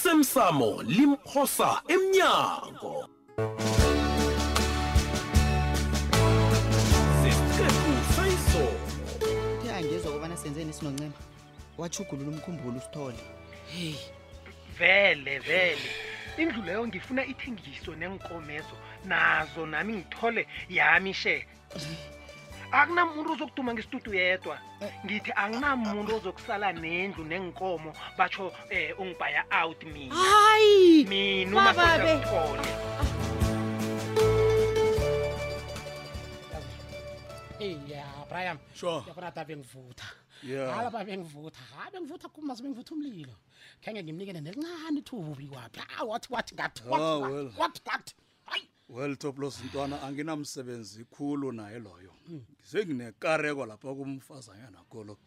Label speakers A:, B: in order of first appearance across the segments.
A: osemsamo limphosa emnyango sesiqephu sayizolo
B: uthe angezwa kobana senzeni sinoncema wachugulula umkhumbulo usithole heyi
C: vele vele indlu leyo ngifuna ithengiso nenkomezo nazo nami ngithole yami she akunamuntu ozokuduma ngesitutu yedwa ngithi akunamuntu ozokusala nendlu nenkomo batsho um ungibhaya out mina
D: hayi
C: mina
D: bababe.
C: umaothole
E: eyi ya brian
F: Sure.
E: yakurada bengivutha
F: Yeah.
E: hala ba bengivutha ha bengivutha kumazi bengivutha umlilo khenge ngimnikele nelincane ithubi kwaphi a wathi wathi ngathi
F: Ah, well.
E: wathi ngathi hayi
F: well toplos mntwana anginamsebenzi khulu naye loyo senginekareko lapha kumfazanyana kolo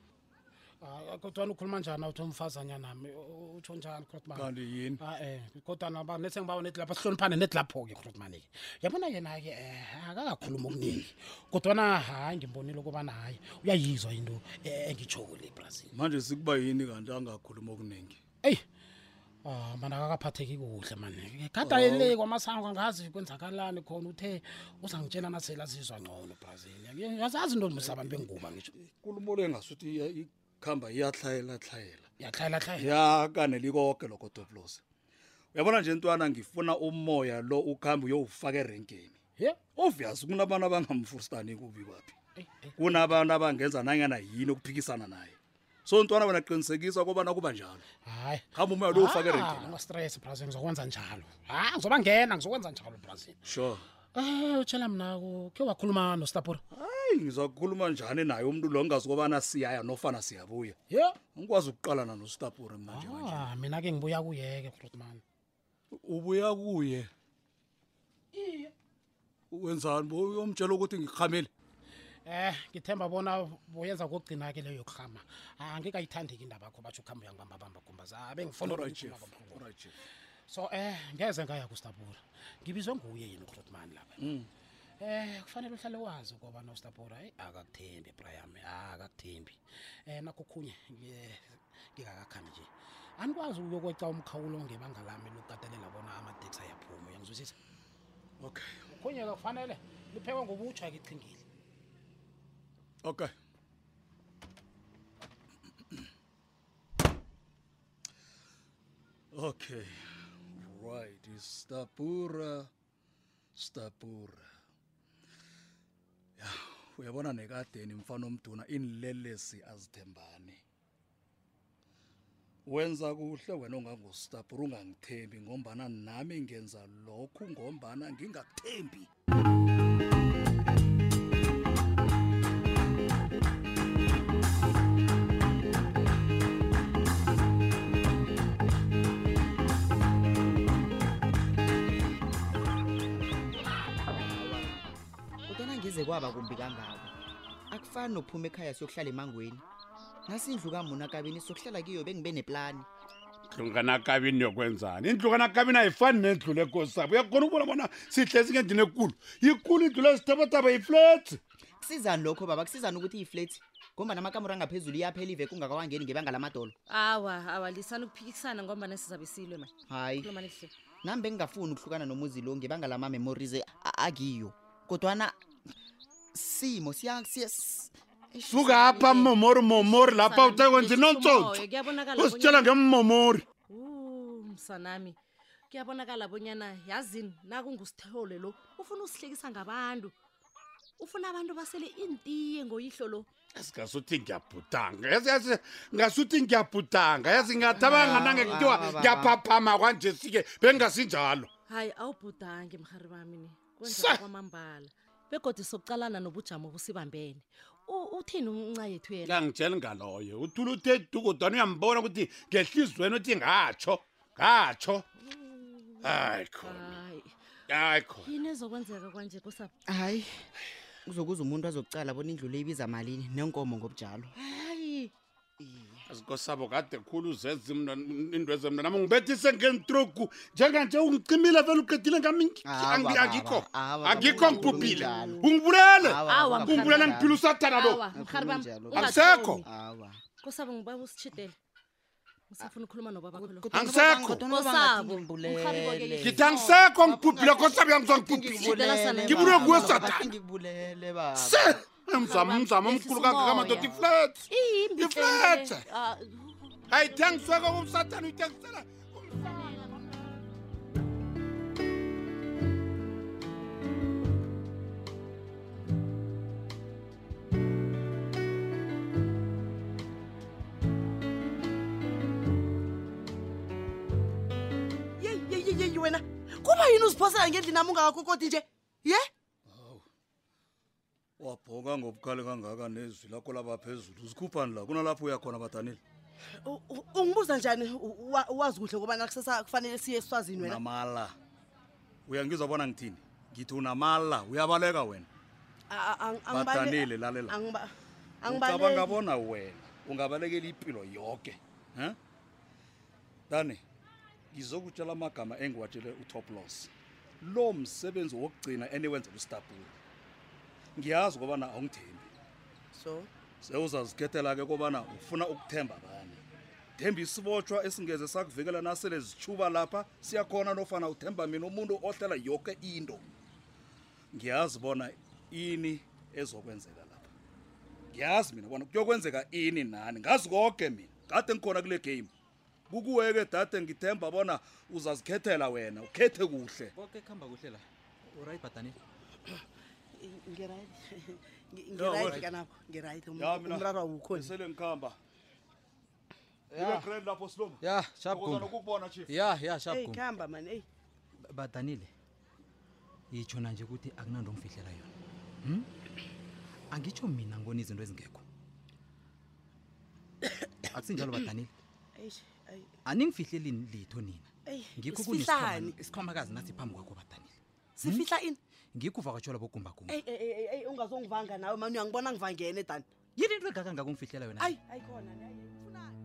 E: Ah, kodwana ukhuluma njani awuthi umfazanya nami U- utsho njani crotman
F: kanti yini
E: ae kodwana ba nethi sengibawa nethi lapha sihloniphane nethi lapho-ke crotman-ke yabona yena-ke um akakakhuluma okuningi kodwana hayi ngimbonile ukubana hhayi uyayizwa into eh, engitshoko le ebrazil
F: manje sikuba yini kanti angakhuluma okuningi
E: eyi Ah mana akakaphatheki kuhle mani gada ele kwamasango angazi kwenzakalani khona uthe uzangitshela nasele azizwa ngcono brazil azazi into msabantu benguba ngisho
F: ikulumo le ngasuthi ikhamba iyatlhayelatlhayela
E: yahlayilahlaya
F: yakaneli konke lokho toplos uyabona nje ntwana ngifuna umoya lo ukuhambe uyowufaka erenkeni
E: ye
F: obvious kunabantu abangamfustani kubi kwaphi
E: eyi, eyi.
F: kunabantu abangenza nanyana yini ukuphikisana naye so ntwana wena qinisekisa kobana kuba njalo
E: hayi
F: hamba umoya lo ufaka erenkeni
E: ungastress brazil ngizokwenza njalo hayi ngizoba ngena ngizokwenza njalo brazil
F: sure
E: um utshela mnako khe wakhuluma nostapura
F: hayi ngizakukhuluma njani naye umntu lo ngingazi kobana siyaya nofana siyabuya
E: ye
F: angikwazi ukuqalana nostapure manje manje
E: ah mina ke ngibuya kuyeke rotman
F: Ah. ubuya kuye wenzani bo uyomtshela ukuthi ngikhamele
E: Eh ngithemba bona boyenza kokugcina ke leyo khama. Ah, Angikayithandeki indaba yakho bathu khamba uyangibamba bamba Ah, gumbaza. Abe ngifuna
F: Alright,
E: ukukutshela
F: chef.
E: kwamhlanga.
F: Alright, chef.
E: So eh ngeze ngaya kuStabura. Ngibizwe nguye yena uRotman lapha.
F: Mm.
E: Eh kufanele uhlale wazi ngoba noStabura hey akakuthembi Brian akakuthembi. Eh nakho khunye ngi- ngingakakhambi nje. Anikwazi ukuyokweca umkhawulo ongebanga lami lokukatelela bona amadeksi ayaphuma uyangizwisisa.
F: okay
E: Khonye ke kufanele liphekwe ngobutsha ke ichingile.
F: okay okay right stapura stapura ya uyabona nekadeni mfana omduna inilelesi azithembani wenza kuhle wena ongangustapura ungangithembi ngombana nami ngenza lokhu ngombana ngingakuthembi
B: kodwana ngize kwaba kumbi kangako akufani nophuma ekhaya siyokuhlala emangweni nasindlu kamunakabeni sokuhlala kiyo bengibe neplani
G: ndlukanakabini yokwenzani indlukanakabini ayifani nendlu lekosi sabo uyakhona ukubona bona sihle singendini ekulu yikulu indlu lezitabataba yiflats
B: kusizani lokho baba kusizani ukuthi iyiflethi ngombana amakamura angaphezulu iyaphela ive kungakawangeni ngebanga lamadolo
D: awa awa lisana ukuphikisana ngombana sizabe silwe ma
B: hhayi
D: khuluma nekuhle
B: nami bengingafuni ukuhlukana nomuzi lo ngebanga lama-memories e- a- akiyo kodwana simo siya- siya- s- eish,
G: suka apha
B: siyabile.
G: mmomori momori lapha utekwenza inontsotso
D: kuyabonakala
G: usitshela ngemmomori
D: Uh, msanami kuyabonakala bonyana yazini nakungusithole lo ufuna usihlekisa ngabantu ufuna abantu basele intiye ngoyihlo lo
G: ngasuthi ngiyabhudanga yazi yazi ngasuthi ngiyabhudanga yazi ngathabanga nange
B: Ah,
G: kuthiwa
B: ah,
G: ngiyaphaphama kwanje sike bengasinjalo
D: hayi awubhudangi mhari bami ni
G: Sa-
D: kwenza kwamambala begodi sokucalana nobujamo busibambene U- uthini umnca yethu yena
G: angitsheli ngaloyo uthula uthe dukodwana uyambona ukuthi ngehlizweni uthi ngatsho ngatsho hayi khona
D: hayi
G: hayi khona
D: yini ezokwenzeka kwanje kusapho
B: hayi kuzokuza umuntu azokucala bona indlu le ibiza malini nenkomo ngobujalo
D: hayi
G: azikosabo kade khulu uzenza mna into ezemna nami ngibethise ngentroku njenganje ungicimile vele uqedile ngami ngi-
B: Awa, Ah,
G: angi-
B: baba,
G: angikho
B: awa,
G: angikho
B: baba,
G: ngibhubhile
B: unjalo.
G: ungibulele
B: Awa,
D: Awa,
B: baba,
G: ungibulele
B: unjalo.
G: ngiphila usathana lo
D: awa mhari bami
B: Akhulumi njalo.
G: Akusekho.
B: awa
D: kusapho ngiba usitshidele ngisafuna ukukhuluma nobabakho lo
G: Angisekho. ngithi angisekho ngibhubhile khosabo yami zangibhubhile Ngibulwe nguwe, Sathane.
B: ngibulele baba
G: se
F: Eh,
G: mzamo mzamo omkhulu kangaka madoda ifletse Ifletse. ayithengisweko kumsathane uyithengisela
H: yeyeyeyeyi wena kuba yini uziphosela ngendlini nami ungakakokoti nje ye
F: wabhoka ngobukhali kangaka nezwi lakho labaphezulu uzikhuphani la kunalapho uyakhona badanile
H: U- u- ungibuza njani U- wa- wazi kuhle kubana kusesa kufanele siye esiswazini wena
F: unamala uyangizwa bona ngithini ngithi unamala uyabaleka wena
H: A- a- ang- angibale-
F: badanile lalela
H: angiba-
F: ucabanga
H: angibaleki
F: bona wena ungabalekela impilo yoke ha dani ngizokutshela amagama engiwatshele utoplos lo msebenzi wokugcina eniwenzela ustabule ngiyazi ukubana awungithembi
H: so
F: sewuzazikhethela ke kobana ufuna ukuthemba bani themba isibotshwa esingeze sakuvikela nasele zitshuba lapha siyakhona nofana uthemba mina umuntu ohlela yoke into ngiyazi bona ini ezokwenzeka lapha ngiyazi mina bona kuyokwenzeka ini nani ngazi konke mina kade ngikhona kule game kukuweke dade ngithemba bona uzazikhethela wena ukhethe kuhle
I: konke kuhamba kuhle la uright bhatanile
H: ngirayit
F: alright.
H: ngirayit kanapho ngirayit umraro awukhoni
F: sele ngikhamba ibe grand lapho siloma
I: ya sharp
F: Ngokuzana
I: gumba
F: ukukubona chief
I: ya ya sharp
H: eyi
I: gumba
H: kuhamba mani eyi
I: badanile yitshona nje ukuthi akunanto ngifihlela yona Hmm? angitsho mina ngibona izinto ezingekho akusinjalo badanile
H: eish ayi
I: aningifihlelini litho nina
H: eyi
I: ngikho
H: sifihlani
I: kunesikhwama- isikhwamakazi nasiphambi kwakho badanile
H: sifihla ini
I: ngikho uvakatshelwa bogumbagumba
H: eyi eyi eyi, eyi ungazongivanga nawe mani uyangibona ngivangene dani
I: yini into egaka ngakungifihlela yona
H: ayi ayikhona ne, ayi, funani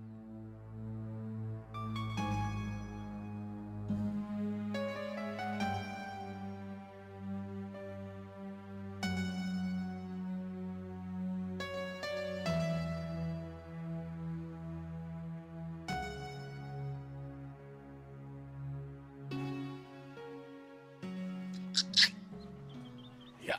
G: ya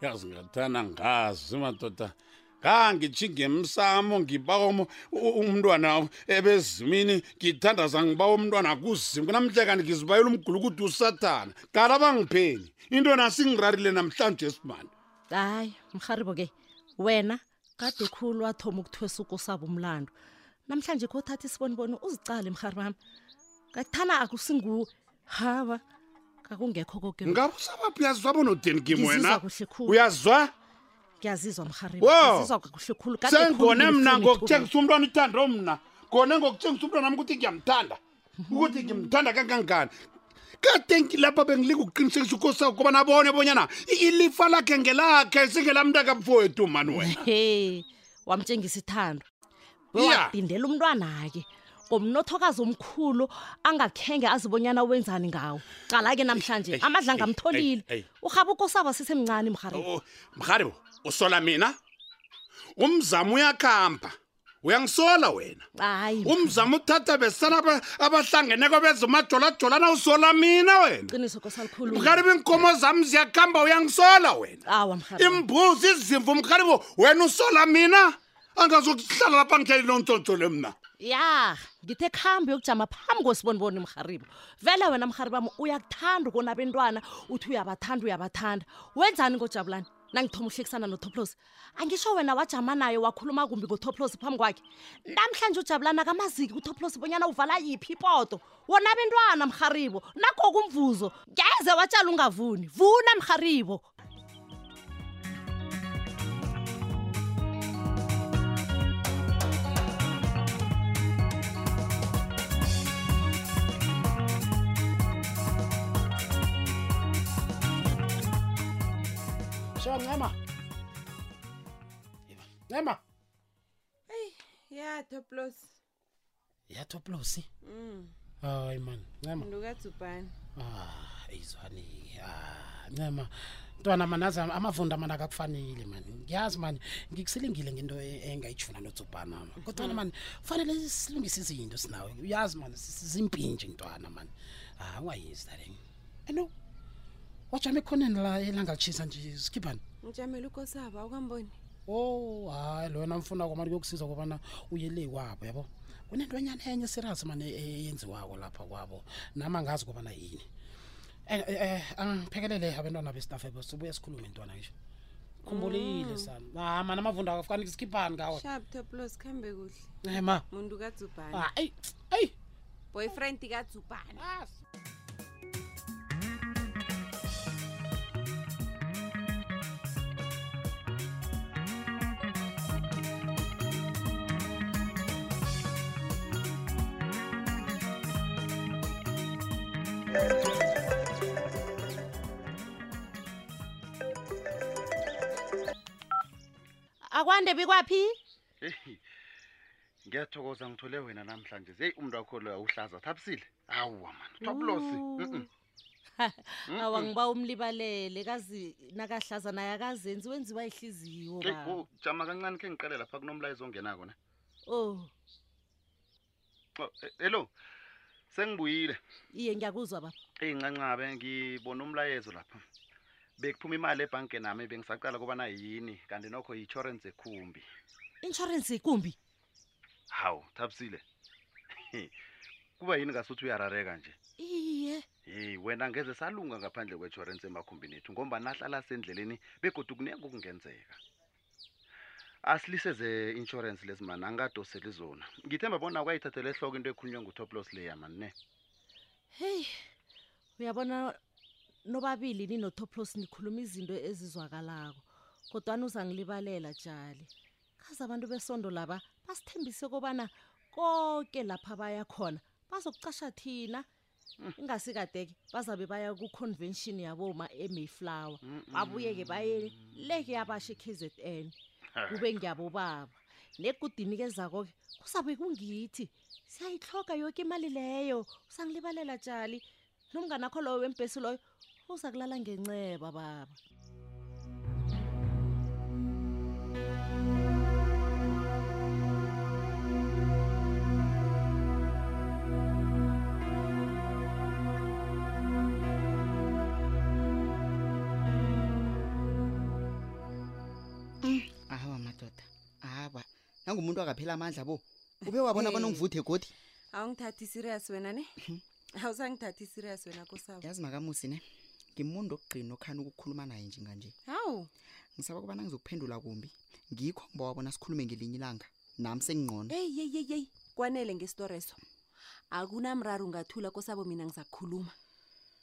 G: yazi ngathana ngazi madoda ngangitshi ngemsamo ngibawa umu- u- umntwana ebezimini ngithandaza ngibawa umntwana kuzimu kunamhla kanti ngizibayela umgulukudu usathana qala bangipheni into nasingirarile namhlanje esimane
D: hayi mharibo-ke wena kade khulu wathoma ukuthwesa ukosabo umlando namhlanje khothatha isiboniboni uzicale mhari bami ngakuthana akusinguwe haba kakungekho koke lokhu.
G: ngabe usabaphi uyazwabo nodenkim wena
D: Ngizizwa kuhle khulu.
G: uyazwa
D: ngiyazizwa mharibo
G: Wo!
D: ngiyazizwa kakuhle khulu Kade khulu
G: sengone mna
D: ngilifuna ithuba.
G: ngokuthengisa umntwana uthando mna ngone ngokuthengisa umntwana ami ukuthi ngiyamthanda ukuthi ngimthanda kangangani kade ngi- lapha bengilinga ukuqinisekisa ukosako kuba nabone bonyana i- ilifa lakhe ngelakhe singelamntu akamfowethu mani wena
D: he wamtshengisa ithando
G: Ya.
D: bewadindela umntwana-ke ngomnothokazi omkhulu angakhenge azibonyana wenzani ngawo cala-ke namhlanje
G: Eish,
D: amadla
G: eish,
D: ngamtholile
G: eish, eish.
D: urhaba ukosaba sisemncane mharibo
G: Oh, mharibo usola mina umzamo uyakhamba uyangisola wena
D: hayi
G: umzamo uthatha besana aba- abahlangeneko beza umajolajolana usola mina wena
D: qiniso kosalikhulu
G: mharibo iinkomo zam ziyakhamba uyangisola wena
D: awa mharibo
G: imbuzi izimvu mkhalibo wena usola mina angazokuhlala lapha ngihleli nontsontshole mna
D: ya ngithe khambi yokujama phambi kwesiboniboni mharibo vele wena mharibami uyakuthanda ukona bentwana uthi uyabathanda uyabathanda wenzani ngojabulani nangithoma uhlekisana notoplos angisho wena wajama naye wakhuluma kumbi ngotoplos phambi kwakhe namhlanje ujabulani akamaziki kutoplos bonyana uvala yiphi ipoto wona bentwana mharibo nakokumvuzo ngeze watshala ungavuni vuna mharibo
E: sho ncema ncema
J: ya toplos Mm.
E: yatoplosi hayi mani ncema
J: ndukadzubhani
E: hayi eyizwane-ke ah, ncema mntwana mani azi amavunda mani akakufanile mani ngiyazi mani ngikusilingile ngento e- engayijuna notsubhana
J: Mm-hmm.
E: ma kodwana mani kufanele silungise izinto sinawe uyazi mani si- si- zimpintshi ntwana mani hayi Ah, ungayenzi Eh, dareng eno wajama ekhoneni la elangatshisa nje sikhiphani
J: ngijamela ukosaba awukamboni
E: o hayi lona mfuna kwamani kuyokusiza kobana uyele kwabo yabo kunentwanyana enye serasi mani eyenziwako lapha kwabo nama ngazi kobana yini Eh, eh, eh, angiphekelele abantwana bestaff ebo sibuye sikhulume ntwana nje khumbulile Ah,
J: Mm.
E: sani ha mani amavunda akafukani sikhiphani ngawe
J: sharp toplos kuhambe kuhle
E: Eh, ma.
J: muntu kazubhana
E: Ah, eyi eyi ah,
J: boyfriend kazubhana
D: akwande bikwaphi
F: heyi ngiyathokoza ngithole wena namhlanje zeyi umntu wakho loya uhlaza thapsile awuwa mani toplosi
D: Mm. awa ngiba umlibalele kazi nakahlaza naye akazenzi wenziwa ihliziyo ba
F: oh, jama kancane khe ngiqale lapha kunomlayezo ongenako ne
D: o
F: Oh, eh, hello sengibuyile
D: iye ngiyakuzwa baba
F: eyincancabe ngibona umlayezo lapha bekuphuma imali ebhanke nami bengisacala kobana yini kanti nokho yi-insurance ekhumbi
D: insurance ikumbi
F: hawu thapsile kuba yini kasuthi uyarareka nje
D: iye
F: heyi wena ngeze salunga ngaphandle kwe-insurance emakhumbini ethu ngomba nahlala sendleleni begodwa kunenge okungenzeka asilise ze-insurance lezi mani angadoseli zona ngithemba bona kwayithathela ehloko into ekhulunywa ngutoplos leya mani ne
D: heyi uyabona nobabili ninotoplos nikhuluma izinto ezizwakalako kodwani uzangilibalela jali kaze abantu besondo laba basithembise kobana konke lapha baya khona bazokucasha thina ingasikadeke bazabe baya ku-convention yaboma emayflower babuye-ke baye leke yabasha e-k z n kube ngiyabo baba negudinikezako-ke kuzabe kungithi siyayihloga yoke imali leyo usangilibalela tshali nomnganakho loyo wembhesi loyo uza kulala ngenceba baba
B: ahawa madoda hawa nangumuntu akaphela amandla bo ube wabona bona
J: Hey.
B: ungivuthe godi
J: awungithathi serious wena ne
B: Mhm.
J: awusangithathi serious wena kosabo
B: yazi makamusi ne ngimuntu okugqina okhani ukukhuluma naye njenganje
J: hawu
B: ngisaba kubana ngizokuphendula kumbi ngikho ngiba wabona sikhulume ngelinye ilanga nami sengingqono
J: eyi yeyi yeyi yeyi kwanele ngesitoreso akunamraro ungathula kosabo mina ngizakukhuluma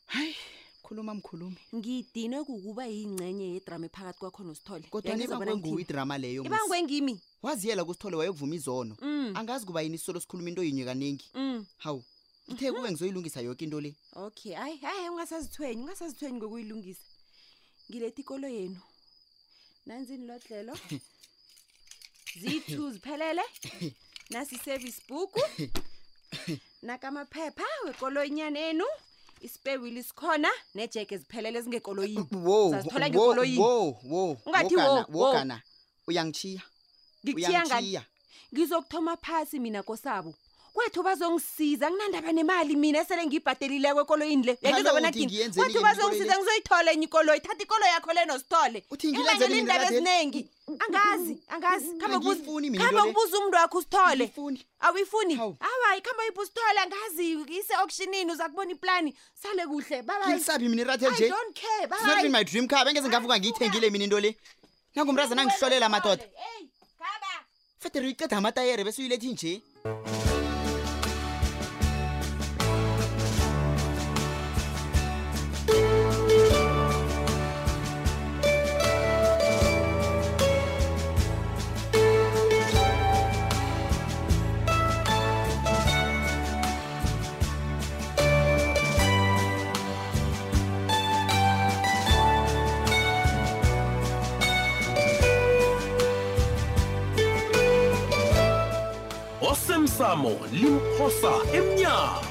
B: hayi khuluma mkhulume
J: ngidinwe kukuba yingcenye yedrama ephakathi kwakho nosithole
B: kodwa
J: Uyangiza bona
B: nibangwe nguwo
J: ngithini?
B: idrama leyo
J: ibangwe ngimi
B: waziyela kusithole wayokuvuma izono
J: Mm.
B: angazi kuba yini isisolo sikhuluma into yinye kaningi
J: Mm.
B: hawu ngithe kuwe ngizoyilungisa yoke into le
J: okay hayi hayi ungasazithweni ungasazithweni ngokuyilungisa ngiletha ikolo yenu nanzini lodlelo ziyi-two ziphelele nasi-service book nakamaphepha wekoloyinyana enu isipewili sikhona nejeke ziphelele ezingekoloyini
B: wo
J: Sazithola
B: wo,
J: ngekoloyini.
B: wo wo
J: Ungathi
B: wogana,
J: wo, wo.
B: wogana uyangichiya
J: ngikuthiya ngani ngizokuthoma phasi mina kosabo kwethu bazongisiza kunandaba nemali mina esele ngiyibhadelileko ekoloyini le
B: Hallo,
J: yangizabona
B: uthi
J: kini
B: ngiyenzeni
J: kwethu
B: mina
J: bazongisiza
B: ikoloyi le?
J: ngizoyithola enye ikoloyi thatha ikolo yakho leno sithole
B: ngiyenzeni
J: imbangela
B: mina
J: iindaba
B: kakade?
J: eziningi angazi angazi khambe
B: mm. Angiyifuni mina
J: khambe
B: into le.
J: ukubuza umntu wakho usithole awuyifuni awayi khambe yiphi usithole angazi ise-auctionini uza kubona iplani sale kuhle bye-bye.
B: Ngisabi mina irathe nje.
J: I don't care
B: It's not
J: bye-bye.
B: in my dream car bengeze ngavuka ngiyithengile mina into le nangumrazana angihlolela madoda federe uyiceda amatayere bese uyilethi nje
G: osemsamo limphosa emnyango